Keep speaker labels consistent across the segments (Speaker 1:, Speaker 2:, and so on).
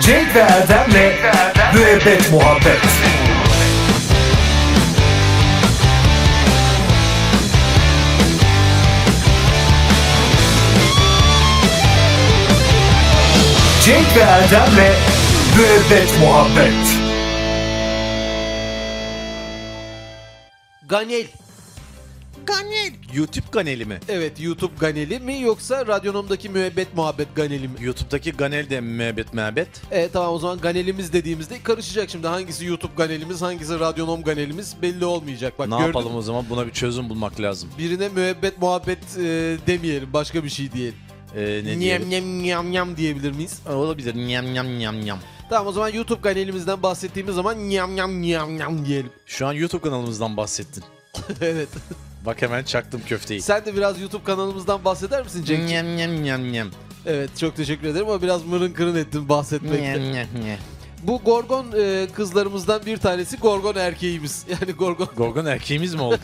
Speaker 1: Cenk ve Erdem'le Müebbet Muhabbet Cenk ve Erdem'le Müebbet Muhabbet
Speaker 2: Ganel.
Speaker 3: Ganel.
Speaker 4: YouTube Ganel'i mi?
Speaker 2: Evet YouTube Ganel'i mi yoksa radyonumdaki müebbet muhabbet Ganel'i mi?
Speaker 4: YouTube'daki Ganel de muhabbet muhabbet.
Speaker 2: Evet tamam o zaman Ganel'imiz dediğimizde karışacak şimdi. Hangisi YouTube Ganel'imiz hangisi radyonom Ganel'imiz belli olmayacak. Bak
Speaker 4: ne
Speaker 2: gördün
Speaker 4: yapalım
Speaker 2: mü?
Speaker 4: o zaman? Buna bir çözüm bulmak lazım.
Speaker 2: Birine müebbet muhabbet e, demeyelim başka bir şey diyelim.
Speaker 4: Ee, ne
Speaker 2: Nyam
Speaker 4: diyelim?
Speaker 2: nyam nyam nyam diyebilir miyiz?
Speaker 4: Olabilir. Nyam nyam nyam nyam.
Speaker 2: Tamam o zaman YouTube Ganel'imizden bahsettiğimiz zaman nyam nyam nyam nyam diyelim.
Speaker 4: Şu an YouTube kanalımızdan bahsettin.
Speaker 2: evet.
Speaker 4: Bak hemen çaktım köfteyi.
Speaker 2: Sen de biraz YouTube kanalımızdan bahseder misin Cenk?
Speaker 4: Nyam nyam nyam nyam.
Speaker 2: Evet çok teşekkür ederim ama biraz mırın kırın ettin bahsetmekte.
Speaker 4: Nyam nyam nyam.
Speaker 2: Bu Gorgon e, kızlarımızdan bir tanesi Gorgon erkeğimiz. Yani Gorgon
Speaker 4: Gorgon erkeğimiz mi oldu?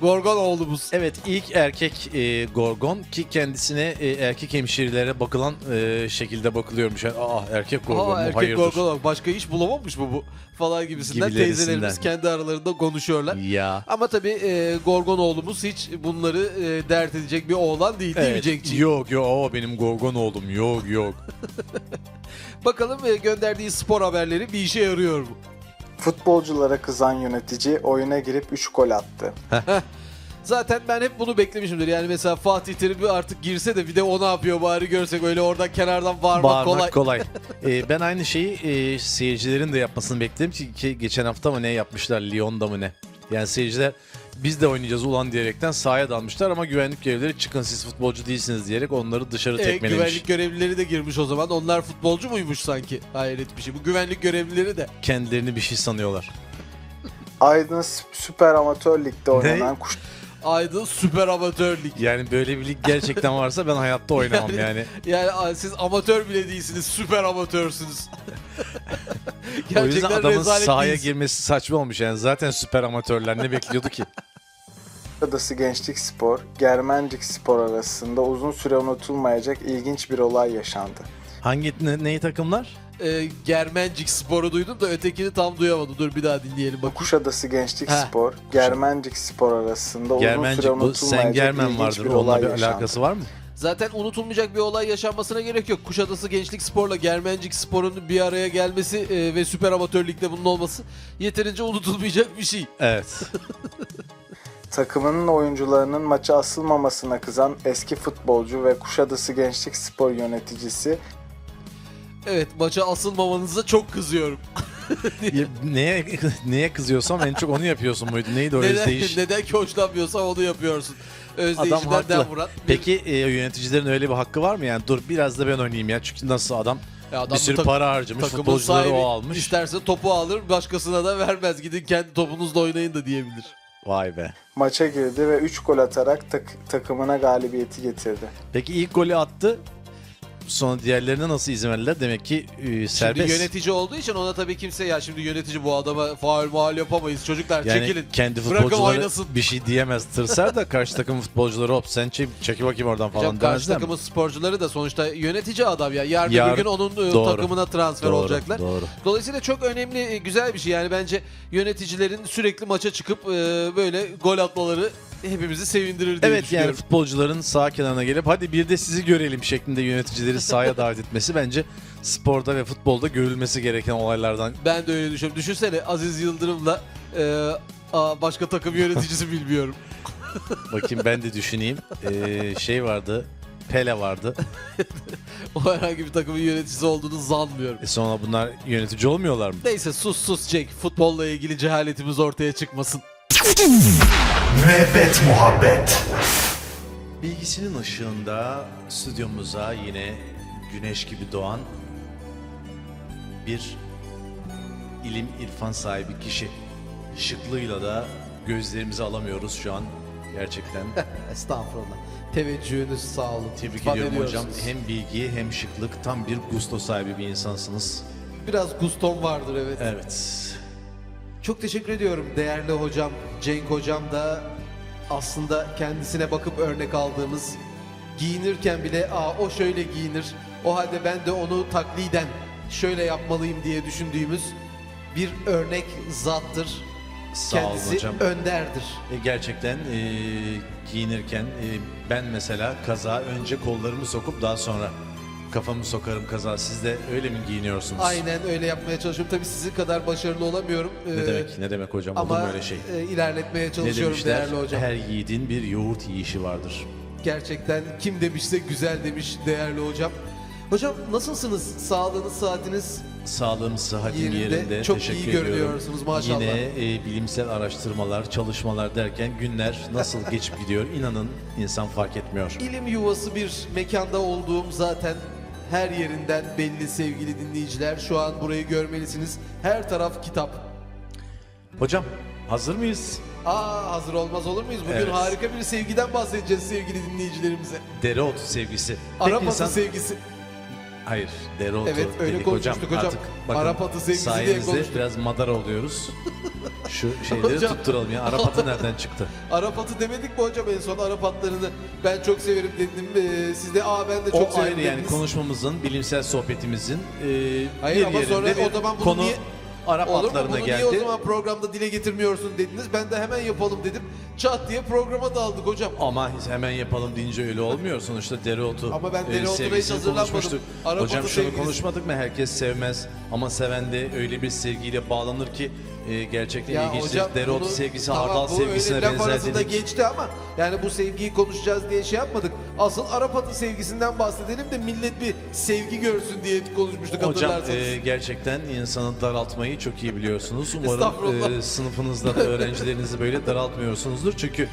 Speaker 2: Gorgon oğlumuz.
Speaker 4: evet ilk erkek e, Gorgon ki kendisine e, erkek hemşirelere bakılan e, şekilde bakılıyormuş. Yani, Aa erkek Gorgon mu?
Speaker 2: Aa, erkek
Speaker 4: Hayırdır?
Speaker 2: Gorgon olarak başka iş bulamamış mı bu falan gibisinden
Speaker 4: Gibilerisinden.
Speaker 2: teyzelerimiz kendi aralarında konuşuyorlar.
Speaker 4: Ya.
Speaker 2: Ama tabii e, Gorgon oğlumuz hiç bunları e, dert edecek bir oğlan değil değil mi
Speaker 4: Evet.
Speaker 2: Cenkciğim?
Speaker 4: Yok yok o benim Gorgon oğlum yok yok.
Speaker 2: Bakalım e, gönderdiği spor haberleri bir işe yarıyor mu?
Speaker 5: Futbolculara kızan yönetici oyuna girip 3 gol attı.
Speaker 2: Zaten ben hep bunu beklemişimdir. Yani mesela Fatih Terim bir artık girse de bir de o ne yapıyor bari görsek öyle oradan kenardan bağırmak, kolay.
Speaker 4: Bağırmak kolay. Ee, ben aynı şeyi e, seyircilerin de yapmasını bekledim ki, ki geçen hafta mı ne yapmışlar Lyon'da mı ne? Yani seyirciler biz de oynayacağız ulan diyerekten sahaya dalmışlar ama güvenlik görevlileri çıkın siz futbolcu değilsiniz diyerek onları dışarı
Speaker 2: E,
Speaker 4: tekmelemiş.
Speaker 2: güvenlik görevlileri de girmiş o zaman. Onlar futbolcu muymuş sanki? Hayret bir şey. Bu güvenlik görevlileri de.
Speaker 4: Kendilerini bir şey sanıyorlar.
Speaker 5: Aydın Sü- Süper Amatör Lig'de oynanan kuş
Speaker 2: Aydın süper amatör lig.
Speaker 4: Yani böyle bir lig gerçekten varsa ben hayatta oynamam yani.
Speaker 2: Yani a- siz amatör bile değilsiniz, süper amatörsünüz.
Speaker 4: o yüzden adamın
Speaker 2: rezalet
Speaker 4: sahaya
Speaker 2: değilsiniz.
Speaker 4: girmesi saçma olmuş yani. Zaten süper amatörler ne bekliyordu ki?
Speaker 5: Adası Gençlik Spor, Germencik Spor arasında uzun süre unutulmayacak ilginç bir olay yaşandı.
Speaker 4: Hangi ne, neyi takımlar?
Speaker 2: Ee, Germencik sporu duydum da ötekini tam duyamadım. Dur bir daha dinleyelim bak.
Speaker 5: Kuşadası Gençlik
Speaker 2: Ha.
Speaker 5: Spor, Germencik Spor arasında uzun
Speaker 4: Germencik
Speaker 5: süre
Speaker 4: bu Sen
Speaker 5: unutulmayacak
Speaker 4: Germen
Speaker 5: ilginç
Speaker 4: vardır.
Speaker 5: bir
Speaker 4: Onunla
Speaker 5: olay
Speaker 4: bir
Speaker 5: yaşandı.
Speaker 4: alakası var mı?
Speaker 2: Zaten unutulmayacak bir olay yaşanmasına gerek yok. Kuşadası Gençlik Spor'la Germencik Spor'un bir araya gelmesi e, ve Süper Amatör Lig'de bunun olması yeterince unutulmayacak bir şey.
Speaker 4: Evet.
Speaker 5: Takımının oyuncularının maça asılmamasına kızan eski futbolcu ve Kuşadası Gençlik Spor yöneticisi
Speaker 2: Evet maça asılmamanıza çok kızıyorum.
Speaker 4: Ya neye neye kızıyorsam en çok onu yapıyorsun muydu? Neydi o
Speaker 2: neden,
Speaker 4: özdeyiş?
Speaker 2: neden ki hoşlanmıyorsan onu yapıyorsun. Özdeyişinden
Speaker 4: haklı.
Speaker 2: Den Murat.
Speaker 4: Peki e, yöneticilerin öyle bir hakkı var mı? Yani dur biraz da ben oynayayım ya. Çünkü nasıl adam,
Speaker 2: Ya adam
Speaker 4: bir sürü
Speaker 2: tak-
Speaker 4: para harcamış,
Speaker 2: Takımın
Speaker 4: futbolcuları
Speaker 2: sahibi
Speaker 4: o almış.
Speaker 2: isterse topu alır başkasına da vermez. Gidin kendi topunuzla oynayın da diyebilir.
Speaker 4: Vay be.
Speaker 5: maça girdi ve 3 gol atarak tak- takımına galibiyeti getirdi.
Speaker 4: Peki ilk golü attı. Sonra diğerlerine nasıl izin verdiler? Demek ki e, serbest.
Speaker 2: Şimdi yönetici olduğu için ona tabii kimse ya şimdi yönetici bu adama faal muhal yapamayız çocuklar
Speaker 4: yani
Speaker 2: çekilin.
Speaker 4: kendi
Speaker 2: Bırakın
Speaker 4: futbolcuları
Speaker 2: oynasın.
Speaker 4: bir şey diyemez tırsar da karşı takım futbolcuları hop sen çek, çekil bakayım oradan
Speaker 2: Hocam
Speaker 4: falan
Speaker 2: karşı
Speaker 4: demezler mi?
Speaker 2: takımın sporcuları da sonuçta yönetici adam ya. Yarın
Speaker 4: Yarın-
Speaker 2: bir gün onun e,
Speaker 4: Doğru.
Speaker 2: takımına transfer
Speaker 4: Doğru,
Speaker 2: olacaklar.
Speaker 4: doğru.
Speaker 2: Dolayısıyla çok önemli e, güzel bir şey yani bence yöneticilerin sürekli maça çıkıp e, böyle gol atmaları hepimizi sevindirir diye
Speaker 4: Evet yani
Speaker 2: düşünüyorum.
Speaker 4: futbolcuların sağ kenarına gelip hadi bir de sizi görelim şeklinde yöneticileri sahaya davet etmesi bence sporda ve futbolda görülmesi gereken olaylardan
Speaker 2: Ben de öyle düşünüyorum. Düşünsene Aziz Yıldırım'la e, aa, başka takım yöneticisi bilmiyorum.
Speaker 4: bakayım ben de düşüneyim. Ee, şey vardı. Pele vardı.
Speaker 2: O herhangi bir takımın yöneticisi olduğunu zanmıyorum.
Speaker 4: E sonra bunlar yönetici olmuyorlar mı?
Speaker 2: Neyse sus sus Cenk. Futbolla ilgili cehaletimiz ortaya çıkmasın.
Speaker 1: Müebbet Muhabbet
Speaker 4: Bilgisinin ışığında stüdyomuza yine güneş gibi doğan bir ilim irfan sahibi kişi. Şıklığıyla da gözlerimizi alamıyoruz şu an gerçekten.
Speaker 2: Estağfurullah. Teveccühünüz sağ olun.
Speaker 4: Tebrik ediyorum hocam. Hem bilgi hem şıklık tam bir gusto sahibi bir insansınız.
Speaker 2: Biraz guston vardır evet.
Speaker 4: Evet.
Speaker 2: Çok teşekkür ediyorum değerli hocam. Cenk hocam da aslında kendisine bakıp örnek aldığımız giyinirken bile aa o şöyle giyinir. O halde ben de onu takliden şöyle yapmalıyım diye düşündüğümüz bir örnek zattır.
Speaker 4: Sağ olun
Speaker 2: Kendisi
Speaker 4: hocam.
Speaker 2: önderdir.
Speaker 4: E, Gerçekten e, giyinirken e, ben mesela kaza önce kollarımı sokup daha sonra kafamı sokarım kaza. Siz de öyle mi giyiniyorsunuz?
Speaker 2: Aynen öyle yapmaya çalışıyorum. Tabii sizin kadar başarılı olamıyorum.
Speaker 4: Ne
Speaker 2: Ee,
Speaker 4: demek? Ne demek hocam? Olur mu
Speaker 2: Ama
Speaker 4: öyle şey?
Speaker 2: e, ilerletmeye
Speaker 4: Ne
Speaker 2: çalışıyorum
Speaker 4: demişler?
Speaker 2: değerli hocam.
Speaker 4: Her yiğidin bir yoğurt yiyişi vardır.
Speaker 2: Gerçekten kim demişse güzel demiş değerli hocam. Hocam nasılsınız? Sağlığınız, saatiniz
Speaker 4: Sağlığım, sıhhatim
Speaker 2: Yerinde.
Speaker 4: yerinde.
Speaker 2: Çok iyi
Speaker 4: Teşekkür
Speaker 2: görünüyorsunuz
Speaker 4: ediyorum.
Speaker 2: maşallah.
Speaker 4: Yine e, bilimsel araştırmalar, çalışmalar derken günler nasıl geçip gidiyor inanın insan fark etmiyor.
Speaker 2: İlim yuvası bir mekanda olduğum zaten her yerinden belli sevgili dinleyiciler. Şu an burayı görmelisiniz. Her taraf kitap.
Speaker 4: Hocam hazır mıyız?
Speaker 2: Aa hazır olmaz olur muyuz? Bugün
Speaker 4: Evet.
Speaker 2: harika bir sevgiden bahsedeceğiz sevgili dinleyicilerimize.
Speaker 4: Dereotu sevgisi. Pek
Speaker 2: Arap
Speaker 4: insan-
Speaker 2: atı sevgisi.
Speaker 4: Hayır, dereotu
Speaker 2: Evet, öyle
Speaker 4: dedik
Speaker 2: konuşmuştuk hocam.
Speaker 4: Artık bakın,
Speaker 2: Arap atı sevgisi diye
Speaker 4: sayenizde
Speaker 2: konuştuk.
Speaker 4: biraz madara oluyoruz. Şu şeyleri
Speaker 2: Hocam.
Speaker 4: tutturalım ya. Arap atı nereden çıktı?
Speaker 2: Arap atı demedik mi hocam en son Arap atlarını ben çok severim dedim. Ee, siz de aa ben de çok
Speaker 4: o
Speaker 2: severim
Speaker 4: ayrı yani
Speaker 2: dediniz.
Speaker 4: konuşmamızın, bilimsel sohbetimizin e,
Speaker 2: Hayır
Speaker 4: bir
Speaker 2: ama
Speaker 4: yerinde
Speaker 2: sonra
Speaker 4: bir
Speaker 2: o zaman bunu
Speaker 4: konu
Speaker 2: niye-
Speaker 4: Arap
Speaker 2: Olur mu?
Speaker 4: atlarına
Speaker 2: Bunu
Speaker 4: geldi.
Speaker 2: niye o zaman programda dile getirmiyorsun dediniz. Ben de hemen yapalım dedim. Çat diye programa daldık hocam.
Speaker 4: Ama hemen yapalım deyince öyle olmuyor. Sonuçta dereotu
Speaker 2: Ama ben
Speaker 4: e,
Speaker 2: dereotuna hiç
Speaker 4: sevgisini
Speaker 2: hazırlanmadım.
Speaker 4: konuşmuştuk.
Speaker 2: Arap
Speaker 4: Hocam
Speaker 2: otu
Speaker 4: şunu
Speaker 2: sevgilisi.
Speaker 4: konuşmadık mı? Herkes sevmez ama seven de öyle bir sevgiyle bağlanır ki e, gerçekten
Speaker 2: Ya
Speaker 4: ilginçtir.
Speaker 2: hocam
Speaker 4: dereotu
Speaker 2: bunu-
Speaker 4: sevgisi
Speaker 2: tamam,
Speaker 4: hardal
Speaker 2: bu
Speaker 4: sevgisine
Speaker 2: öyle laf
Speaker 4: benzer
Speaker 2: arasında
Speaker 4: dedik.
Speaker 2: geçti ama yani bu sevgiyi konuşacağız diye şey yapmadık. Asıl Arap atı sevgisinden bahsedelim de millet bir sevgi görsün diye konuşmuştuk
Speaker 4: Hocam
Speaker 2: hatırlarsanız.
Speaker 4: e, gerçekten insanı daraltmayı çok iyi biliyorsunuz. Umarım
Speaker 2: Estağfurullah.
Speaker 4: e, sınıfınızda da öğrencilerinizi böyle daraltmıyorsunuzdur. Çünkü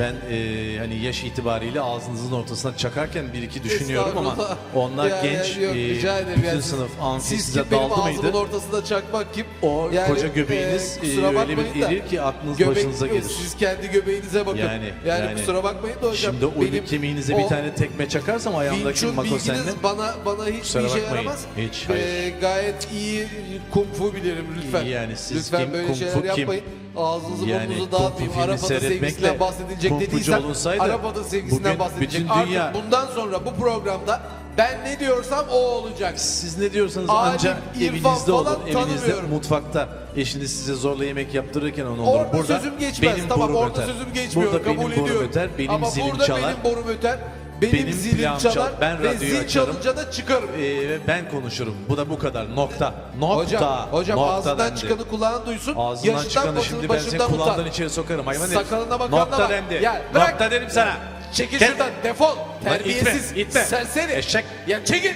Speaker 4: ben e, hani yaş itibariyle ağzınızın ortasına çakarken bir iki düşünüyorum ama
Speaker 2: Estağfurullah.
Speaker 4: onlar
Speaker 2: Ya, ya,
Speaker 4: genç,
Speaker 2: yok,
Speaker 4: e,
Speaker 2: rica ederim.
Speaker 4: bütün
Speaker 2: Yani siz-
Speaker 4: sınıf amfi
Speaker 2: siz
Speaker 4: size
Speaker 2: kim benim
Speaker 4: daldı
Speaker 2: ağzımın
Speaker 4: mıydı?
Speaker 2: ortasında çakmak kim?
Speaker 4: O
Speaker 2: Yani,
Speaker 4: koca göbeğiniz
Speaker 2: e,
Speaker 4: e,
Speaker 2: kusura
Speaker 4: öyle bir
Speaker 2: bakmayın da,
Speaker 4: erir ki aklınız
Speaker 2: göbek-
Speaker 4: başınıza gelir.
Speaker 2: Siz kendi göbeğinize bakın. Yani,
Speaker 4: Yani, yani.
Speaker 2: kusura bakmayın da hocam.
Speaker 4: Şimdi o
Speaker 2: benim
Speaker 4: benim, kemiğinize
Speaker 2: o
Speaker 4: bir tane tekme çakarsam ayağımdaki
Speaker 2: Winchun
Speaker 4: makosenle
Speaker 2: bilginiz bana, bana hiçbir
Speaker 4: Kusura
Speaker 2: işe
Speaker 4: bakmayın.
Speaker 2: yaramaz.
Speaker 4: Hiç, hayır.
Speaker 2: Ee, gayet iyi kung fu bilirim lütfen.
Speaker 4: İyi yani, siz
Speaker 2: lütfen
Speaker 4: kim,
Speaker 2: böyle
Speaker 4: kung fu
Speaker 2: şeyler
Speaker 4: kim?
Speaker 2: yapmayın. Ağzınızı
Speaker 4: yani
Speaker 2: burnunuzu
Speaker 4: Kung Fu
Speaker 2: dağıtmayın.
Speaker 4: filmi
Speaker 2: Arap adı sevgisinden
Speaker 4: seyretmekle
Speaker 2: bahsedecek
Speaker 4: Kung Fu'cu
Speaker 2: dediysem
Speaker 4: olunsaydı
Speaker 2: Arap adı sevgisinden
Speaker 4: bugün
Speaker 2: bahsedecek.
Speaker 4: bütün dünya-
Speaker 2: Artık bundan sonra bu programda ben ne diyorsam o olacak.
Speaker 4: Siz ne diyorsanız
Speaker 2: Alim,
Speaker 4: ancak
Speaker 2: irfan
Speaker 4: evinizde
Speaker 2: falan
Speaker 4: olun. Evinizde
Speaker 2: tanımıyorum.
Speaker 4: mutfakta eşiniz size zorla yemek yaptırırken onu olur.
Speaker 2: Orada sözüm geçmez.
Speaker 4: benim
Speaker 2: tamam
Speaker 4: borum
Speaker 2: orada
Speaker 4: öter.
Speaker 2: sözüm geçmiyor.
Speaker 4: Burada
Speaker 2: kabul
Speaker 4: benim borum
Speaker 2: ediyorum.
Speaker 4: öter, benim
Speaker 2: Ama
Speaker 4: zilim
Speaker 2: burada
Speaker 4: çalar.
Speaker 2: benim borum öter. Benim,
Speaker 4: Benim
Speaker 2: zilim
Speaker 4: plağım
Speaker 2: çalar.
Speaker 4: çalar, ben
Speaker 2: ve
Speaker 4: radyoyu
Speaker 2: zil
Speaker 4: açarım.
Speaker 2: çalınca da çıkarım.
Speaker 4: Ee, ve ben konuşurum. Bu da bu kadar. Nokta. Nokta.
Speaker 2: Hocam, hocam
Speaker 4: Nokta
Speaker 2: ağzından
Speaker 4: dendi.
Speaker 2: çıkanı kulağın duysun.
Speaker 4: Ağzından
Speaker 2: yaşından
Speaker 4: çıkanı
Speaker 2: batı-
Speaker 4: şimdi ben seni
Speaker 2: başından utan.
Speaker 4: kulağından içeri sokarım. Hayvan herif.
Speaker 2: Sakalına bakanına
Speaker 4: Nokta
Speaker 2: bak.
Speaker 4: dendi.
Speaker 2: Ya bırak.
Speaker 4: Nokta dedim sana.
Speaker 2: Çekil
Speaker 4: Gel.
Speaker 2: şuradan defol.
Speaker 4: Lan itme,
Speaker 2: Terbiyesiz.
Speaker 4: itme. E,
Speaker 2: Serseri.
Speaker 4: Eşek.
Speaker 2: Ya çekil.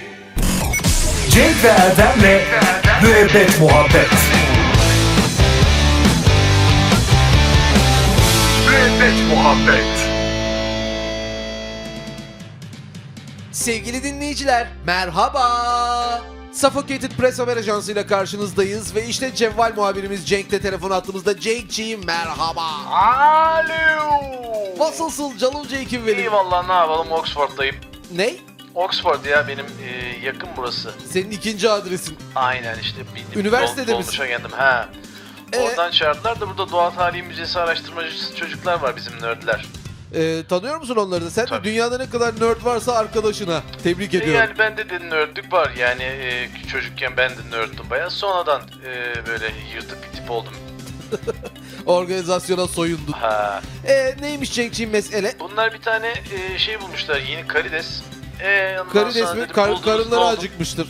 Speaker 1: Cenk ve Erdem'le Müebbet Muhabbet Müebbet Muhabbet
Speaker 2: Sevgili dinleyiciler merhaba. Suffocated Press Haber Ajansı ile karşınızdayız ve işte Cevval muhabirimiz Cenk de telefon attığımızda Cenk'ciğim merhaba.
Speaker 6: Alo.
Speaker 2: Nasılsın canım Cenk'im benim?
Speaker 6: İyi vallahi ne yapalım Oxford'dayım.
Speaker 2: Ne?
Speaker 6: Oxford ya benim e, yakın burası.
Speaker 2: Senin ikinci adresin.
Speaker 6: Aynen işte. Bir,
Speaker 2: Üniversitede
Speaker 6: dol-
Speaker 2: misin?
Speaker 6: dolmuşa geldim ha.
Speaker 2: Ee?
Speaker 6: Oradan çağırdılar da burada Doğa Tarihi Müzesi araştırmacısı çocuklar var bizim nerdler.
Speaker 2: Ee, tanıyor musun onları da? Sen de
Speaker 6: Tabii.
Speaker 2: dünyada ne kadar nerd varsa arkadaşına. Tebrik
Speaker 6: E,
Speaker 2: ediyorum.
Speaker 6: Yani bende de nerdlük var yani e, çocukken ben de nerddim bayağı. Sonradan e, böyle yırtık bir tip oldum.
Speaker 2: Organizasyona soyundun.
Speaker 6: Ha.
Speaker 2: Ee, neymiş Cenk'ciğim mesele?
Speaker 6: Bunlar bir tane e, şey bulmuşlar yeni karides. E, ondan
Speaker 2: Karides
Speaker 6: sonra
Speaker 2: mi?
Speaker 6: dedim,
Speaker 2: Kar,
Speaker 6: buldunuz, ne
Speaker 2: karınları
Speaker 6: oldu?
Speaker 2: acıkmıştır.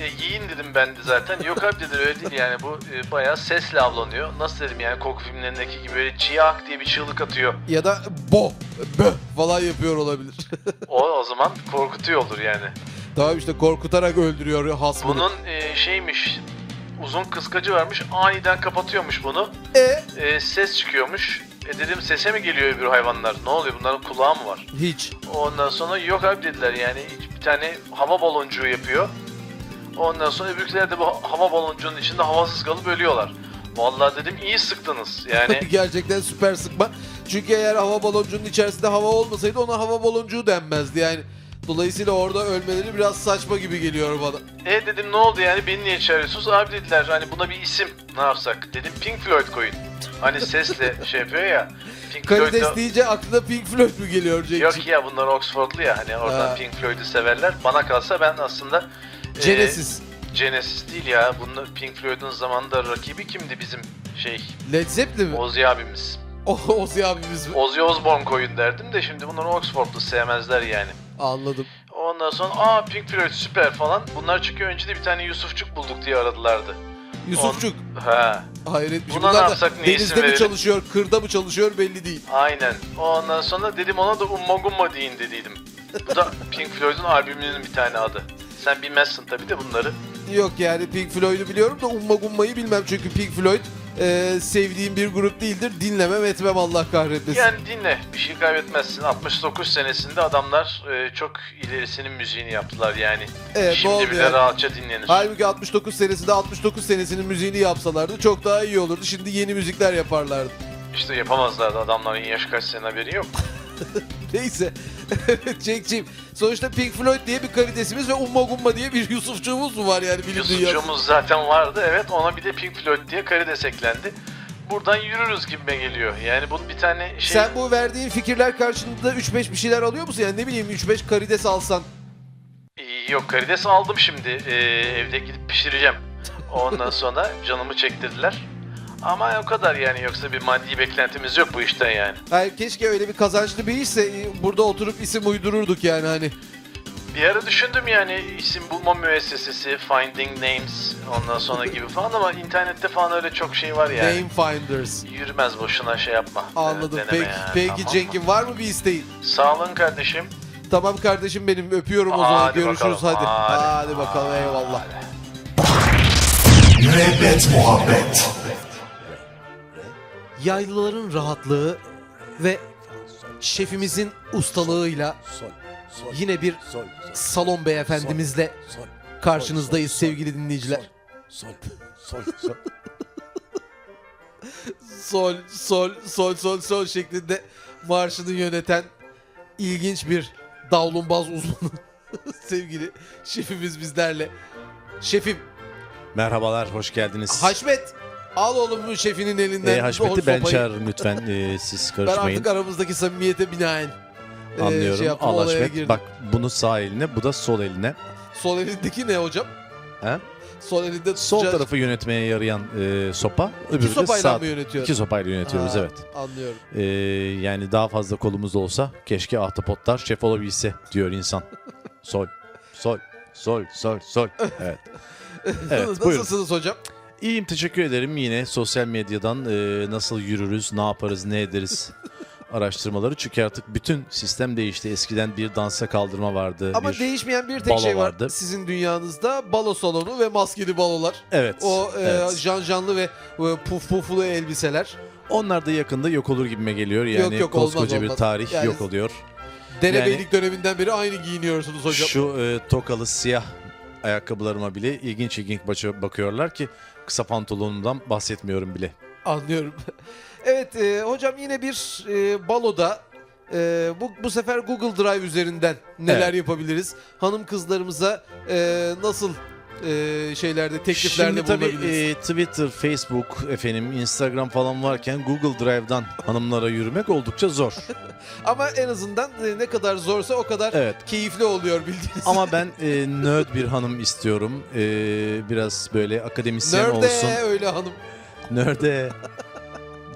Speaker 6: E, yiyin dedim ben de zaten. Yok abi dedi öyle değil yani bu e, bayağı sesle avlanıyor. Nasıl dedim yani korku filmlerindeki gibi böyle ciyak diye bir çığlık atıyor.
Speaker 2: Ya da bo, bö falan yapıyor olabilir.
Speaker 6: O o zaman korkutuyor olur yani.
Speaker 2: tamam işte korkutarak öldürüyor hasmını.
Speaker 6: Bunun e, şeymiş uzun kıskacı varmış aniden kapatıyormuş bunu.
Speaker 2: E
Speaker 6: E, ses çıkıyormuş. E dedim sese mi geliyor öbür hayvanlar? Ne oluyor bunların kulağı mı var?
Speaker 2: hiç.
Speaker 6: Ondan sonra yok abi dediler yani bir tane hava baloncuğu yapıyor. Ondan sonra öbürküler de bu hava baloncuğunun içinde havasız kalıp ölüyorlar. Vallahi dedim iyi sıktınız yani.
Speaker 2: Gerçekten süper sıkma. Çünkü eğer hava baloncuğunun içerisinde hava olmasaydı ona hava baloncuğu denmezdi yani. Dolayısıyla orada ölmeleri biraz saçma gibi geliyor bana.
Speaker 6: E dedim ne oldu yani beni niye çağırıyorsunuz? Abi dediler hani buna bir isim ne yapsak? Dedim Pink Floyd koyun. Hani sesle şey yapıyor ya. Pink
Speaker 2: Karides
Speaker 6: Floyd'da...
Speaker 2: deyince aklına Pink Floyd mu geliyor Cenk'ciğim?
Speaker 6: Yok e- ya bunlar Oxfordlu ya hani oradan
Speaker 2: Ha.
Speaker 6: Pink Floyd'u severler. Bana kalsa ben aslında... e,
Speaker 2: Genesis,
Speaker 6: Genesis değil ya. Bunlar Pink Floyd'un zamanında rakibi kimdi bizim şey
Speaker 2: Led Zeppelin mi?
Speaker 6: Ozzy abimiz.
Speaker 2: O, Ozzy abimiz mi?
Speaker 6: Ozzy Osbourne koyun derdim de şimdi bunları Oxford'lu sevmezler yani.
Speaker 2: Anladım.
Speaker 6: Ondan sonra aa Pink Floyd süper falan. Bunlar çıkıyor önce de bir tane Yusufçuk bulduk diye aradılardı.
Speaker 2: Yusufçuk.
Speaker 6: Ha
Speaker 2: Hayret bir şey.
Speaker 6: Buna ne
Speaker 2: Bunlar da
Speaker 6: yapsak, ne isim
Speaker 2: denizde mi
Speaker 6: verelim?
Speaker 2: çalışıyor, kırda mı çalışıyor belli değil.
Speaker 6: aynen. Ondan sonra dedim ona da Umma Gumma deyin dediydim. Bu da Pink Floyd'un albümünün bir tane adı. Sen bilmezsin tabii de bunları.
Speaker 2: Yok yani Pink Floyd'u biliyorum da Umma Gumma'yı bilmem çünkü Pink Floyd e, sevdiğim bir grup değildir. Dinlemem etmem Allah kahretmesin.
Speaker 6: Yani dinle bir şey kaybetmezsin. 69 senesinde adamlar e, çok ilerisinin müziğini yaptılar yani.
Speaker 2: Evet, ne
Speaker 6: Şimdi
Speaker 2: oldu
Speaker 6: bile
Speaker 2: yani?
Speaker 6: rahatça dinlenir.
Speaker 2: Halbuki 69 senesinde 69 senesinin müziğini yapsalardı çok daha iyi olurdu. Şimdi yeni müzikler yaparlardı.
Speaker 6: İşte yapamazlardı adamların yaş kaç sene haberi yok.
Speaker 2: Neyse. Cenk'ciğim sonuçta Pink Floyd diye bir karidesimiz ve Umma Gumma diye bir Yusufçuğumuz mu var yani bilim dünyasında?
Speaker 6: Yusufçuğumuz zaten vardı evet ona bir de Pink Floyd diye karides eklendi. Buradan yürürüz gibime geliyor. Yani bunun bir tane şey...
Speaker 2: Sen bu verdiğin fikirler karşılığında 3-5 bir şeyler alıyor musun? Yani ne bileyim 3-5 karides alsan.
Speaker 6: Ee, Yok karides aldım şimdi. Ee, evde gidip pişireceğim. Ondan sonra canımı çektirdiler. Ama o kadar yani yoksa bir maddi beklentimiz yok bu işten yani.
Speaker 2: Yani keşke öyle bir kazançlı bir işse e, burada oturup isim uydururduk yani hani.
Speaker 6: Bir ara düşündüm yani isim bulma müessesesi, finding names ondan sonra gibi falan ama internette falan öyle çok şey var yani.
Speaker 2: Name Finders.
Speaker 6: Yürümez boşuna şey yapma.
Speaker 2: Anladım.
Speaker 6: Ee, deneme
Speaker 2: peki
Speaker 6: yani,
Speaker 2: peki
Speaker 6: tamam mı?
Speaker 2: Cenk'im var mı bir isteğin?
Speaker 6: Sağ olun kardeşim.
Speaker 2: Tamam kardeşim benim öpüyorum o
Speaker 6: Hadi
Speaker 2: zaman
Speaker 6: bakalım,
Speaker 2: görüşürüz hadi.
Speaker 6: hadi.
Speaker 2: Hadi bakalım eyvallah.
Speaker 1: Müebbet muhabbet.
Speaker 2: Yaylıların rahatlığı ve şefimizin ustalığıyla
Speaker 4: Sol, sol,
Speaker 2: yine bir
Speaker 4: sol, sol,
Speaker 2: salon beyefendimizle
Speaker 4: sol,
Speaker 2: karşınızdayız sevgili dinleyiciler.
Speaker 4: sol, sol, sol.
Speaker 2: Sol, sol, sol, sol, sol şeklinde marşını yöneten ilginç bir davlumbaz uzmanı sevgili şefimiz bizlerle. Şefim
Speaker 4: Merhabalar, hoş geldiniz.
Speaker 2: Haşmet al oğlum bu şefinin elinden.
Speaker 4: Ee,
Speaker 2: o
Speaker 4: Haşmet'i ben
Speaker 2: sopayı.
Speaker 4: çağırırım lütfen. Ee, siz
Speaker 2: Ben
Speaker 4: karışmayın.
Speaker 2: artık aramızdaki samimiyete binaen e,
Speaker 4: Anlıyorum.
Speaker 2: şey yaptım,
Speaker 4: Al
Speaker 2: olaya
Speaker 4: Haşmet.
Speaker 2: girdim.
Speaker 4: Bak bunu sağ eline, bu da sol eline.
Speaker 2: Sol elindeki ne hocam?
Speaker 4: He?
Speaker 2: Sol elinde
Speaker 4: Sol
Speaker 2: tutacağız.
Speaker 4: tarafı yönetmeye yarayan e, sopa,
Speaker 2: iki
Speaker 4: öbürü de
Speaker 2: sopayla
Speaker 4: sağ.
Speaker 2: mı yönetiyor?
Speaker 4: İki sopayla yönetiyoruz
Speaker 2: Ha,
Speaker 4: evet.
Speaker 2: Anlıyorum.
Speaker 4: Ee, yani daha fazla kolumuz olsa keşke ahtapotlar şef olabilse diyor insan. sol, sol, sol, sol, sol. Evet. Evet, buyurun.
Speaker 2: Nasılsınız hocam?
Speaker 4: İyiyim teşekkür ederim. Yine sosyal medyadan e, nasıl yürürüz, ne yaparız, ne ederiz araştırmaları. Çünkü artık bütün sistem değişti. Eskiden bir dansa kaldırma vardı.
Speaker 2: Ama
Speaker 4: bir-
Speaker 2: değişmeyen bir tek
Speaker 4: balo
Speaker 2: şey var
Speaker 4: vardı.
Speaker 2: sizin dünyanızda. Balo salonu ve maskeli balolar.
Speaker 4: Evet.
Speaker 2: O e,
Speaker 4: evet.
Speaker 2: can canlı ve e, puf puflu elbiseler.
Speaker 4: Onlar da yakında yok olur gibime geliyor. Yani
Speaker 2: Yok, yok, olmaz,
Speaker 4: koskoca bir
Speaker 2: olmaz.
Speaker 4: tarih
Speaker 2: Yani-
Speaker 4: yok oluyor.
Speaker 2: Derebeylik döneminden beri aynı giyiniyorsunuz hocam.
Speaker 4: Şu e, tokalı siyah ayakkabılarıma bile ilginç ilginç baça- bakıyorlar ki kısa pantolonumdan bahsetmiyorum bile.
Speaker 2: Anlıyorum. evet e, hocam yine bir e, baloda e, bu bu sefer Google Drive üzerinden neler
Speaker 4: Evet.
Speaker 2: yapabiliriz? Hanım kızlarımıza e, nasıl e, şeylerde tekliflerde
Speaker 4: Şimdi tabii
Speaker 2: bulunabiliriz?
Speaker 4: e, Twitter, Facebook, efendim Instagram falan varken Google Drive'dan hanımlara yürümek oldukça zor.
Speaker 2: Ama en azından e, ne kadar zorsa o kadar
Speaker 4: Evet.
Speaker 2: keyifli oluyor bildiğiniz.
Speaker 4: Ama ben e, nerd bir hanım istiyorum. E, biraz böyle akademisyen
Speaker 2: Nerede
Speaker 4: olsun.
Speaker 2: öyle hanım?
Speaker 4: Nerde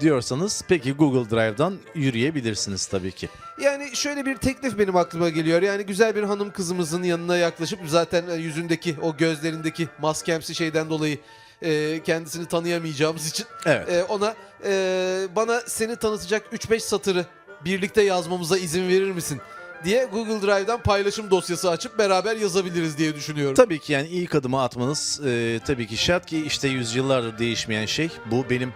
Speaker 4: diyorsanız peki Google Drive'dan yürüyebilirsiniz tabii ki.
Speaker 2: Yani şöyle bir teklif benim aklıma geliyor. Yani güzel bir hanım kızımızın yanına yaklaşıp zaten e, yüzündeki o gözlerindeki maskemsi şeyden dolayı e, kendisini tanıyamayacağımız için
Speaker 4: Evet.
Speaker 2: e, ona e, bana seni tanıtacak 3-5 satırı birlikte yazmamıza izin verir misin? diye Google Drive'dan paylaşım dosyası açıp beraber yazabiliriz diye düşünüyorum.
Speaker 4: Tabii ki yani ilk adımı atmanız e, tabii ki şart ki işte yüzyıllardır değişmeyen şey. Bu benim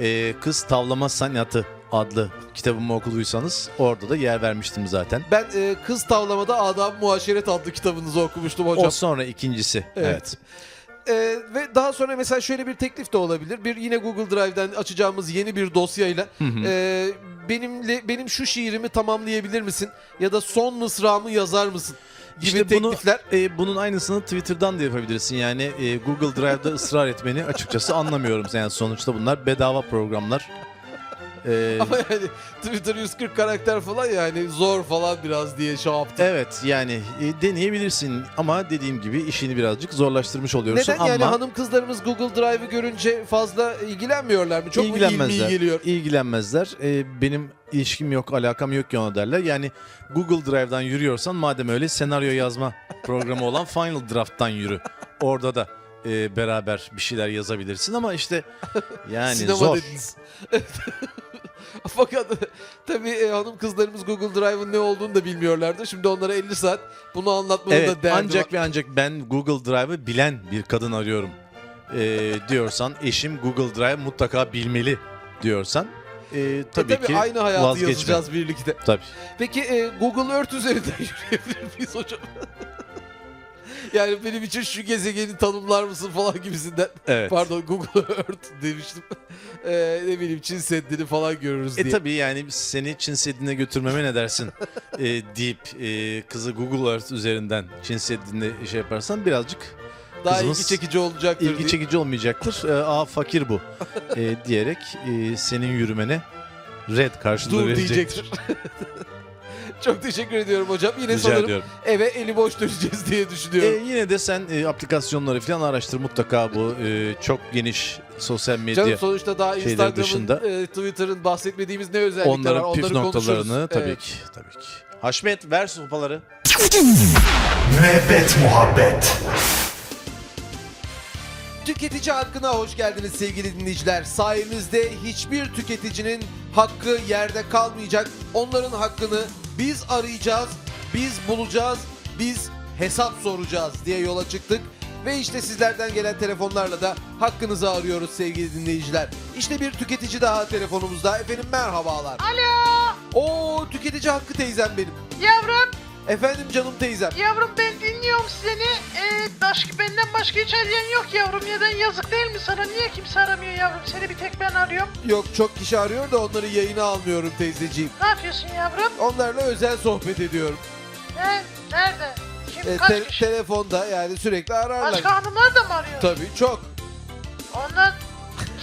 Speaker 4: e, Kız Tavlama Sanatı adlı kitabımı okuduysanız orada da yer vermiştim zaten.
Speaker 2: Ben e, Kız Tavlamada Adam Muaşeret adlı kitabınızı okumuştum hocam.
Speaker 4: O sonra ikincisi.
Speaker 2: Evet.
Speaker 4: Evet.
Speaker 2: Ee, ve daha sonra mesela şöyle bir teklif de olabilir. Bir yine Google Drive'den açacağımız yeni bir dosyayla e, benimle benim şu şiirimi tamamlayabilir misin? Ya da son mısramı yazar mısın? gibi
Speaker 4: İşte bunu-
Speaker 2: teklifler.
Speaker 4: E, bunun aynısını Twitter'dan da yapabilirsin. Yani e, Google Drive'da ısrar etmeni açıkçası anlamıyorum. Yani sonuçta bunlar bedava programlar. E,
Speaker 2: Ama yani Twitter 140 karakter falan yani zor falan biraz diye şey yaptı.
Speaker 4: evet yani e, deneyebilirsin ama dediğim gibi işini birazcık zorlaştırmış oluyorsun
Speaker 2: Neden
Speaker 4: ama
Speaker 2: yani hanım kızlarımız Google Drive'ı görünce fazla ilgilenmiyorlar mı? Çok mu ilmi
Speaker 4: ilgilenmezler.
Speaker 2: geliyor?
Speaker 4: İlgilenmezler. E, benim ilişkim yok, alakam yok ki ona derler. Yani Google Drive'dan yürüyorsan madem öyle senaryo yazma programı olan Final Draft'tan yürü. Orada da e, beraber bir şeyler yazabilirsin ama işte yani
Speaker 2: Sinema
Speaker 4: zor.
Speaker 2: dediniz. Fakat tabii e, hanım kızlarımız Google Drive'ın ne olduğunu da bilmiyorlardı. Şimdi onlara 50 saat bunu anlatmanın
Speaker 4: Evet
Speaker 2: da derdi
Speaker 4: ancak
Speaker 2: var. E,
Speaker 4: ve ancak ben Google Drive'ı bilen bir kadın arıyorum e, diyorsan eşim Google Drive mutlaka bilmeli diyorsan e, tabii,
Speaker 2: E, tabii
Speaker 4: ki
Speaker 2: aynı hayatı
Speaker 4: vazgeçme.
Speaker 2: yazacağız birlikte.
Speaker 4: Tabii.
Speaker 2: Peki e, Google Earth üzerinden yürüyebilir miyiz hocam? yani benim için şu gezegeni tanımlar mısın falan gibisinden.
Speaker 4: Evet.
Speaker 2: Pardon Google Earth demiştim. E, ne bileyim Çin Seddi'ni falan görürüz
Speaker 4: E
Speaker 2: diye.
Speaker 4: tabii yani seni Çin Seddi'ne götürmeme ne dersin e, deyip e, kızı Google Earth üzerinden Çin Seddi'ne şey yaparsan birazcık
Speaker 2: Daha
Speaker 4: kızımız
Speaker 2: ilgi çekici olacaktır
Speaker 4: ilgi
Speaker 2: diye.
Speaker 4: çekici olmayacaktır. E, Aa fakir bu e, diyerek e, senin yürümene red karşılığı
Speaker 2: Dur
Speaker 4: verecektir.
Speaker 2: diyecektir. Çok teşekkür ediyorum hocam. Yine
Speaker 4: Rica
Speaker 2: sanırım
Speaker 4: ediyorum.
Speaker 2: eve eli boş döneceğiz diye
Speaker 4: E,
Speaker 2: düşünüyorum.
Speaker 4: yine de sen e, aplikasyonları falan araştır mutlaka bu e, çok geniş sosyal medya.
Speaker 2: Canım sonuçta daha
Speaker 4: şeyleri
Speaker 2: Instagram'ın,
Speaker 4: E, dışında.
Speaker 2: e, Twitter'ın bahsetmediğimiz ne özellikler var
Speaker 4: Onların
Speaker 2: onları
Speaker 4: püf
Speaker 2: konuşuruz.
Speaker 4: noktalarını tabii
Speaker 2: Evet.
Speaker 4: ki tabii ki. Haşmet ver sopaları.
Speaker 1: Müebbet muhabbet.
Speaker 2: Tüketici hakkına hoş geldiniz sevgili dinleyiciler. Sayemizde hiçbir tüketicinin hakkı yerde kalmayacak. Onların hakkını biz arayacağız, biz bulacağız, biz hesap soracağız diye yola çıktık. Ve işte sizlerden gelen telefonlarla da hakkınızı arıyoruz sevgili dinleyiciler. İşte bir tüketici daha telefonumuzda. Efendim merhabalar.
Speaker 7: Alo
Speaker 2: Oo tüketici hakkı teyzem benim.
Speaker 7: yavrum
Speaker 2: Efendim canım teyzem.
Speaker 7: yavrum ben dinliyorum seni. Ee, başka, benden başka hiç arayan yok yavrum. Neden yazık değil mi sana? Niye kimse aramıyor yavrum? Seni bir tek ben arıyorum.
Speaker 2: Yok çok kişi arıyor da onları yayına almıyorum teyzeciğim.
Speaker 7: Ne yapıyorsun yavrum?
Speaker 2: Onlarla özel sohbet ediyorum.
Speaker 7: Ne? Nerede? Kim?
Speaker 2: E,
Speaker 7: kaç
Speaker 2: te-
Speaker 7: kişi?
Speaker 2: telefonda yani sürekli ararlar.
Speaker 7: Başka hanımlar da mı arıyor?
Speaker 2: Tabii çok.
Speaker 7: Onlar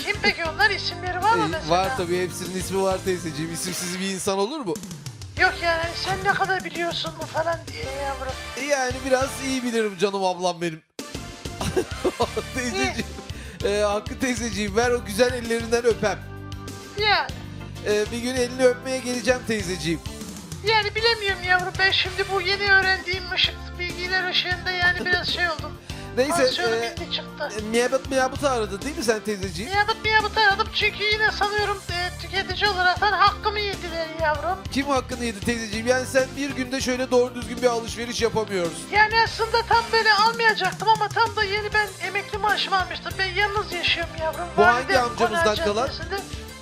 Speaker 7: kim peki? Onlar isimleri var mı
Speaker 2: E,
Speaker 7: mesela?
Speaker 2: var tabii hepsinin ismi var teyzeciğim. İsimsiz bir insan olur mu?
Speaker 7: Yok yani sen ne kadar biliyorsun bu falan diye yavrum.
Speaker 2: E, yani biraz iyi bilirim canım ablam benim. teyzeciğim. E, Hakkı teyzeciğim ver o güzel ellerinden öpem.
Speaker 7: Yani,
Speaker 2: E, bir gün elini öpmeye geleceğim teyzeciğim.
Speaker 7: yani bilemiyorum yavrum. Ben şimdi bu yeni öğrendiğim ışık bilgiler ışığında yani biraz şey oldum.
Speaker 2: Neyse.
Speaker 7: Tansiyonum
Speaker 2: E,
Speaker 7: indi çıktı.
Speaker 2: Miyabıt miyabıtı aradı değil mi sen teyzeciğim?
Speaker 7: Niyabet niyabet aradım çünkü yine sanıyorum e, tüketici olaraktan hakkımı yediler yavrum.
Speaker 2: Kim hakkını yedi teyzeciğim? Yani sen bir günde şöyle doğru düzgün bir alışveriş yapamıyorsun.
Speaker 7: Yani aslında tam böyle almayacaktım ama tam da yeni ben emekli maaşımı almıştım. Ben yalnız yaşıyorum yavrum.
Speaker 2: Bu hangi
Speaker 7: Validem
Speaker 2: amcamızdan
Speaker 7: Konağı
Speaker 2: kalan?
Speaker 7: Caddesi'nde.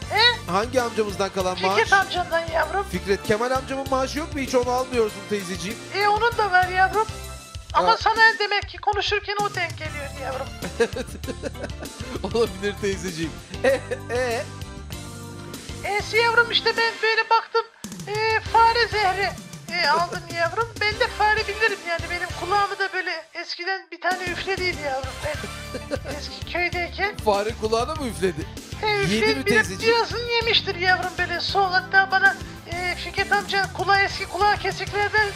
Speaker 7: He?
Speaker 2: Hangi amcamızdan kalan
Speaker 7: Fikret
Speaker 2: maaş?
Speaker 7: amcandan yavrum.
Speaker 2: Fikret Kemal amcamın maaşı yok mu hiç onu almıyorsun teyzeciğim.
Speaker 7: E onun da var yavrum. Ama
Speaker 2: Ha.
Speaker 7: sana demek ki konuşurken o denk geliyor yavrum.
Speaker 2: Olabilir teyzeciğim. E, e,
Speaker 7: E'si E, yavrum işte ben böyle baktım. E, fare zehri e, aldım yavrum. Ben de fare bilirim yani. Benim kulağımı da böyle eskiden bir tane üflediydi yavrum. Ben eski köydeyken.
Speaker 2: fare kulağına mı üfledi?
Speaker 7: E,
Speaker 2: Yedi
Speaker 7: üfleyip
Speaker 2: mi
Speaker 7: bir de
Speaker 2: teyzeciğim?
Speaker 7: birazını yemiştir yavrum böyle sol. Hatta bana e, Fikret amca kulağı eski kulağı kesiklerden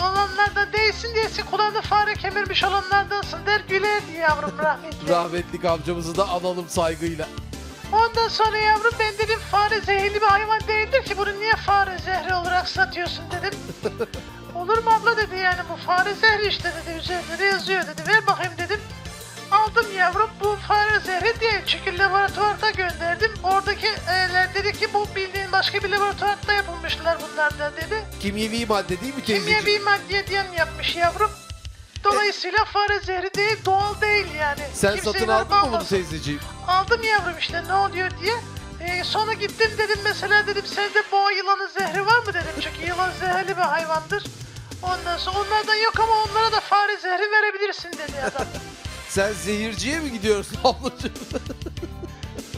Speaker 7: olanlardan değilsin diye eski kulağını fare kemirmiş olanlardansın der gülerdi yavrum rahmetli.
Speaker 2: Rahmetlik amcamızı da analım saygıyla.
Speaker 7: Ondan sonra yavrum ben dedim fare zehirli bir hayvan değildir ki bunu niye fare zehri olarak satıyorsun dedim. Olur mu abla dedi yani bu fare zehri işte dedi üzerinde de yazıyor dedi ver bakayım dedim. Aldım yavrum bu fare zehri değil çünkü laboratuvarda gönderdim. Oradaki eller dedi ki bu bildiğin başka bir laboratuvarda yapılmışlar bunlardan dedi.
Speaker 2: Kimyevi madde değil mi teyzeciğim?
Speaker 7: Kimyevi madde diye mi yapmış yavrum. Dolayısıyla fare zehri değil doğal değil yani.
Speaker 2: Sen
Speaker 7: Kimseyi
Speaker 2: satın
Speaker 7: varıp
Speaker 2: aldın mı bunu
Speaker 7: almasın
Speaker 2: teyzeciğim?
Speaker 7: aldım yavrum işte ne oluyor diye. Ee, sonra gittim dedim mesela dedim sende boğa yılanın zehri var mı dedim. Çünkü yılan zehirli bir hayvandır. Ondan sonra onlardan yok ama onlara da fare zehri verebilirsin dedi adam.
Speaker 2: Sen zehirciye mi gidiyorsun ablacığım?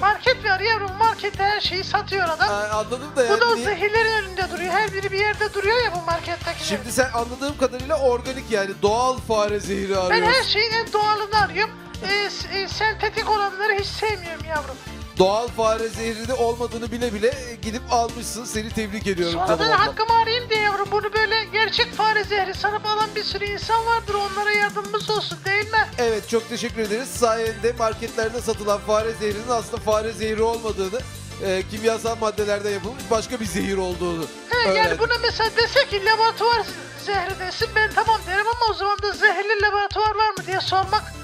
Speaker 7: Market var yavrum markette her şeyi satıyor
Speaker 2: Ee,
Speaker 7: adam.
Speaker 2: anladım da
Speaker 7: Bu da o
Speaker 2: yani. niye-
Speaker 7: zehirlerin önünde duruyor. Her biri bir yerde duruyor ya bu markettekiler.
Speaker 2: Şimdi sen anladığım kadarıyla organik yani doğal fare zehri
Speaker 7: ben her
Speaker 2: arıyorsun.
Speaker 7: şeyin en doğalını arıyorum. Ee, s- e, sentetik olanları hiç sevmiyorum yavrum.
Speaker 2: Doğal fare zehri de olmadığını bile bile gidip almışsın. Seni tebrik ediyorum
Speaker 7: Sonradan
Speaker 2: canım abla.
Speaker 7: hakkımı arayayım diye yavrum bunu böyle gerçek fare zehri sanıp alan bir sürü insan vardır onlara yardımımız olsun değil mi?
Speaker 2: Evet çok teşekkür ederiz. Sayende marketlerde satılan fare zehrinin aslında fare zehri olmadığını, e, kimyasal maddelerden yapılmış başka bir zehir olduğunu.
Speaker 7: He,
Speaker 2: öğrendik.
Speaker 7: yani buna mesela dese ki laboratuvar zehri desin ben tamam derim ama o zaman da zehirli laboratuvar var mı diye sormak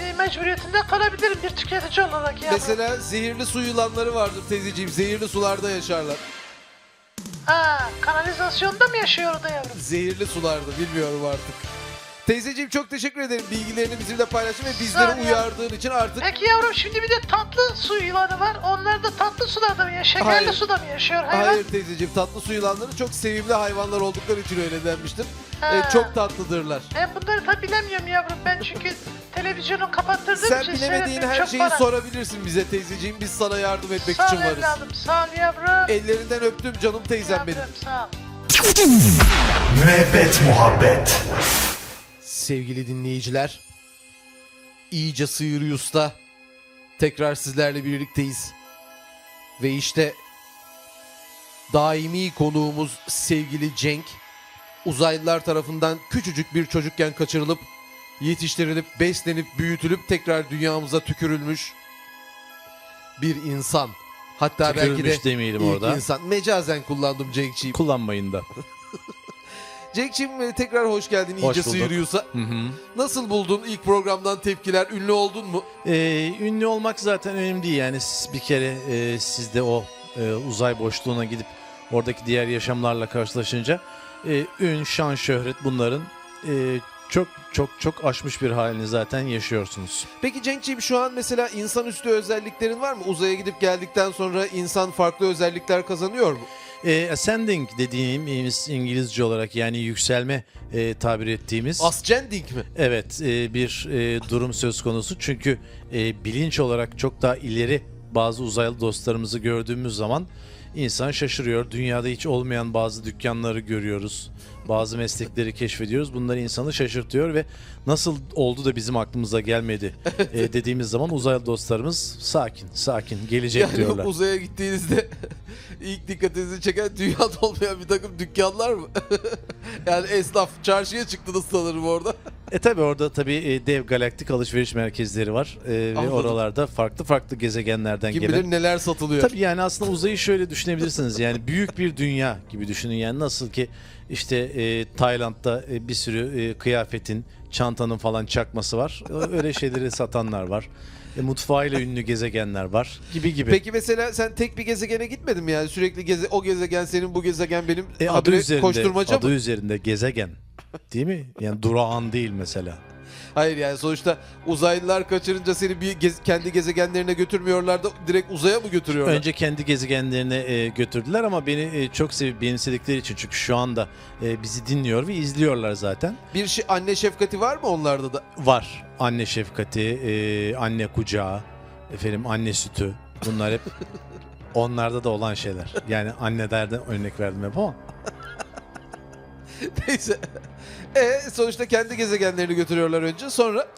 Speaker 7: e, mecburiyetinde kalabilirim bir tüketici olarak yavrum.
Speaker 2: Mesela zehirli su yılanları vardır teyzeciğim. Zehirli sularda yaşarlar.
Speaker 7: Ha, kanalizasyonda mı yaşıyor o da yavrum?
Speaker 2: Zehirli sularda bilmiyorum artık. Teyzeciğim çok teşekkür ederim bilgilerini bizimle paylaştın ve
Speaker 7: Sağ
Speaker 2: bizleri
Speaker 7: olun.
Speaker 2: uyardığın için artık
Speaker 7: Peki yavrum şimdi bir de tatlı su yılanı var. Onlar da tatlı sularda mı yaşıyor? Şekerli
Speaker 2: Hayır.
Speaker 7: suda mı yaşıyor hayvan?
Speaker 2: Hayır teyzeciğim tatlı su yılanları çok sevimli hayvanlar oldukları için öyle denmiştir. Ee,
Speaker 7: Ha.
Speaker 2: çok tatlıdırlar.
Speaker 7: Ben E, bunları tabi bilemiyorum yavrum. Ben çünkü televizyonu kapattırdığım
Speaker 2: Sen
Speaker 7: için şey
Speaker 2: bilemediğin
Speaker 7: seyretmiyorum.
Speaker 2: her
Speaker 7: Çok
Speaker 2: şeyi
Speaker 7: bana.
Speaker 2: sorabilirsin bize teyzeciğim. Biz sana yardım etmek
Speaker 7: Sağ
Speaker 2: için
Speaker 7: ol
Speaker 2: varız.
Speaker 7: evladım. Sağ ol yavrum.
Speaker 2: Ellerinden öptüm canım teyzem benim.
Speaker 7: Yavrum, Sağ ol.
Speaker 1: Müebbet muhabbet.
Speaker 2: Sevgili dinleyiciler, iyice sıyırıyorsa tekrar sizlerle birlikteyiz. Ve işte daimi konuğumuz sevgili Cenk, uzaylılar tarafından küçücük bir çocukken kaçırılıp, yetiştirilip, beslenip, büyütülüp tekrar dünyamıza tükürülmüş bir insan. Hatta belki de
Speaker 4: Tükürülmüş demeyelim
Speaker 2: ilk
Speaker 4: orada.
Speaker 2: insan. Mecazen kullandım Cenk'ciğim.
Speaker 4: Kullanmayın da.
Speaker 2: Cenk'ciğim e, tekrar hoş geldin
Speaker 4: Hoş
Speaker 2: iyice
Speaker 4: bulduk.
Speaker 2: sıyırıyorsa.
Speaker 4: Hı hı.
Speaker 2: Nasıl buldun ilk programdan tepkiler? Ünlü oldun mu?
Speaker 4: Ee, ünlü olmak zaten önemli değil yani siz bir kere e, siz de o e, uzay boşluğuna gidip oradaki diğer yaşamlarla karşılaşınca e, ün, şan, şöhret bunların e, çok çok çok aşmış bir halini zaten yaşıyorsunuz.
Speaker 2: Peki Cenk'ciğim şu an mesela insanüstü özelliklerin var mı? Uzaya gidip geldikten sonra insan farklı özellikler kazanıyor mu?
Speaker 4: E, ascending dediğimiz İngilizce olarak yani yükselme e, tabir ettiğimiz
Speaker 2: Ascending mi?
Speaker 4: evet e, bir e, durum söz konusu çünkü e, bilinç olarak çok daha ileri bazı uzaylı dostlarımızı gördüğümüz zaman insan şaşırıyor. Dünyada hiç olmayan bazı dükkanları görüyoruz. Bazı meslekleri keşfediyoruz. Bunlar insanı şaşırtıyor ve nasıl oldu da bizim aklımıza gelmedi e, dediğimiz zaman uzaylı dostlarımız sakin sakin gelecek
Speaker 2: Yani
Speaker 4: diyorlar.
Speaker 2: uzaya gittiğinizde ilk dikkatinizi çeken dünyada olmayan bir takım dükkanlar mı? yani esnaf çarşıya çıktınız sanırım orada.
Speaker 4: E tabi orada tabi e, dev galaktik alışveriş merkezleri var E, ve
Speaker 2: Anladım.
Speaker 4: oralarda farklı farklı gezegenlerden
Speaker 2: Kim
Speaker 4: gelen.
Speaker 2: bilir neler satılıyor.
Speaker 4: Tabi yani aslında uzayı şöyle düşünebilirsiniz yani büyük bir dünya gibi düşünün yani nasıl ki işte e, Tayland'da e, bir sürü e, kıyafetin, çantanın falan çakması var Ö- öyle şeyleri satanlar var. E, mutfağıyla ünlü gezegenler var gibi gibi.
Speaker 2: Peki mesela sen tek bir gezegene gitmedin mi yani sürekli geze o gezegen senin bu gezegen benim
Speaker 4: E, adı
Speaker 2: habire
Speaker 4: üzerinde,
Speaker 2: koşturmaca mı?
Speaker 4: adı üzerinde gezegen değil mi? Yani durağan değil mesela.
Speaker 2: Hayır yani sonuçta uzaylılar kaçırınca seni bir gez- kendi gezegenlerine götürmüyorlar da direkt uzaya mı götürüyorlar?
Speaker 4: Önce kendi gezegenlerine e, götürdüler ama beni e, çok sevip benimsedikleri için çünkü şu anda e, bizi dinliyor ve izliyorlar zaten.
Speaker 2: Bir şey anne şefkati var mı onlarda da?
Speaker 4: Var anne şefkati, e, anne kucağı, efendim anne sütü bunlar hep onlarda da olan şeyler. Yani annelerden örnek verdim hep ama
Speaker 2: Neyse. E sonuçta kendi gezegenlerini götürüyorlar önce sonra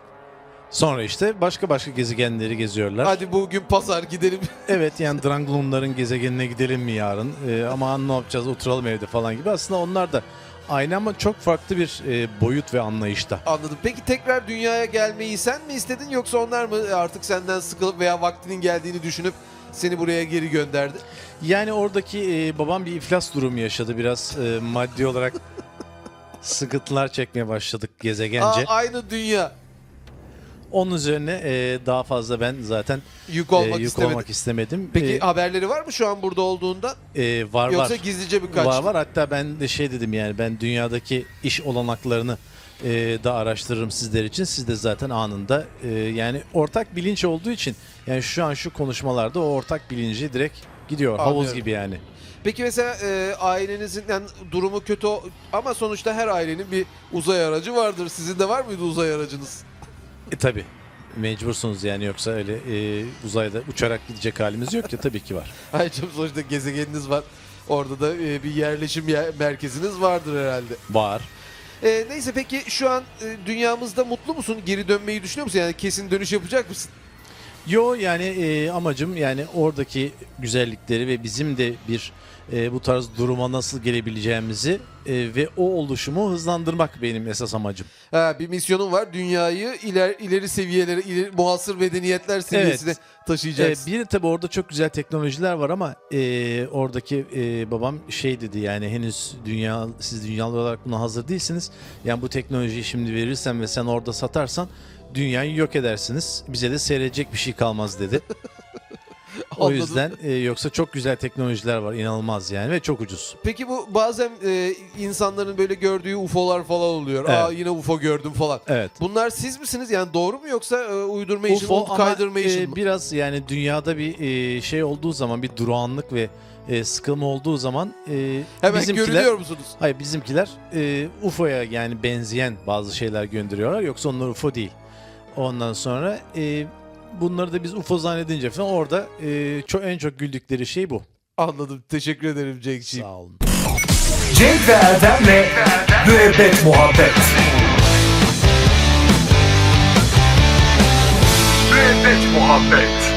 Speaker 4: sonra işte başka başka gezegenleri geziyorlar.
Speaker 2: hadi bugün pazar gidelim.
Speaker 4: Evet yani Dranglumların gezegenine gidelim mi yarın? Ee, ama ne yapacağız oturalım evde falan gibi. Aslında onlar da aynı ama çok farklı bir e, boyut ve anlayışta.
Speaker 2: Anladım. Peki tekrar dünyaya gelmeyi sen mi istedin yoksa onlar mı artık senden sıkılıp veya vaktinin geldiğini düşünüp seni buraya geri gönderdi?
Speaker 4: Yani oradaki e, babam bir iflas durumu yaşadı biraz e, maddi olarak sıkıntılar çekmeye başladık gezegence.
Speaker 2: Aa, aynı dünya.
Speaker 4: Onun üzerine e, daha fazla ben zaten
Speaker 2: Yük
Speaker 4: e,
Speaker 2: olmak
Speaker 4: yük
Speaker 2: istemedim.
Speaker 4: olmak istemedim.
Speaker 2: Peki
Speaker 4: E,
Speaker 2: haberleri var mı şu an burada olduğundan?
Speaker 4: e, var
Speaker 2: Yoksa
Speaker 4: var.
Speaker 2: gizlice mi kaçtı?
Speaker 4: Var var hatta ben de şey dedim yani ben dünyadaki iş olanaklarını e, da araştırırım sizler için. Siz de zaten anında e, yani ortak bilinç olduğu için yani şu an şu konuşmalarda o ortak bilinci direkt gidiyor. Havuz
Speaker 2: Anlıyorum.
Speaker 4: gibi yani.
Speaker 2: Peki mesela e, ailenizin yani durumu kötü o- ama sonuçta her ailenin bir uzay aracı vardır. Sizin de var mıydı uzay aracınız?
Speaker 4: E tabi. Mecbursunuz yani yoksa öyle e, uzayda uçarak gidecek halimiz yok ya tabii ki var.
Speaker 2: Hayır canım sonuçta gezegeniniz var. Orada da e, bir yerleşim yer- merkeziniz vardır herhalde.
Speaker 4: Var.
Speaker 2: E, neyse peki şu an e, dünyamızda mutlu musun? Geri dönmeyi düşünüyor musun? Yani kesin dönüş yapacak mısın?
Speaker 4: Yo yani e, amacım yani oradaki güzellikleri ve bizim de bir e, bu tarz duruma nasıl gelebileceğimizi e, ve o oluşumu hızlandırmak benim esas amacım.
Speaker 2: Ha, bir misyonun var. Dünyayı iler, ileri seviyelere, ileri, muhasır medeniyetler seviyesine
Speaker 4: E,
Speaker 2: taşıyacaksın.
Speaker 4: bir de tabii orada çok güzel teknolojiler var ama e, oradaki e, babam şey dedi yani henüz dünya siz dünyalı olarak buna hazır değilsiniz. Yani bu teknolojiyi şimdi verirsen ve sen orada satarsan dünyayı yok edersiniz. Bize de seyredecek bir şey kalmaz dedi. o
Speaker 2: Anladım.
Speaker 4: yüzden e, yoksa çok güzel teknolojiler var inanılmaz yani ve çok ucuz.
Speaker 2: Peki bu bazen e, insanların böyle gördüğü UFO'lar falan oluyor.
Speaker 4: Evet.
Speaker 2: Aa yine UFO gördüm falan.
Speaker 4: Evet.
Speaker 2: Bunlar siz misiniz? Yani doğru mu yoksa e, uydurma için,
Speaker 4: UFO ama,
Speaker 2: kaydırma için
Speaker 4: e,
Speaker 2: mi?
Speaker 4: biraz yani dünyada bir e, şey olduğu zaman bir durağanlık ve e, sıkılma olduğu zaman e,
Speaker 2: Hemen
Speaker 4: bizimkiler
Speaker 2: görünüyor musunuz?
Speaker 4: Hayır bizimkiler e, UFO'ya yani benzeyen bazı şeyler gönderiyorlar. Yoksa onlar UFO değil. Ondan sonra e, bunları da biz UFO zannedince falan orada e, ço- en çok güldükleri şey bu.
Speaker 2: Anladım. Teşekkür ederim Cenk'ciğim.
Speaker 4: Sağ olun.
Speaker 1: Cenk ve Erdem'le Müebbet Muhabbet Müebbet Muhabbet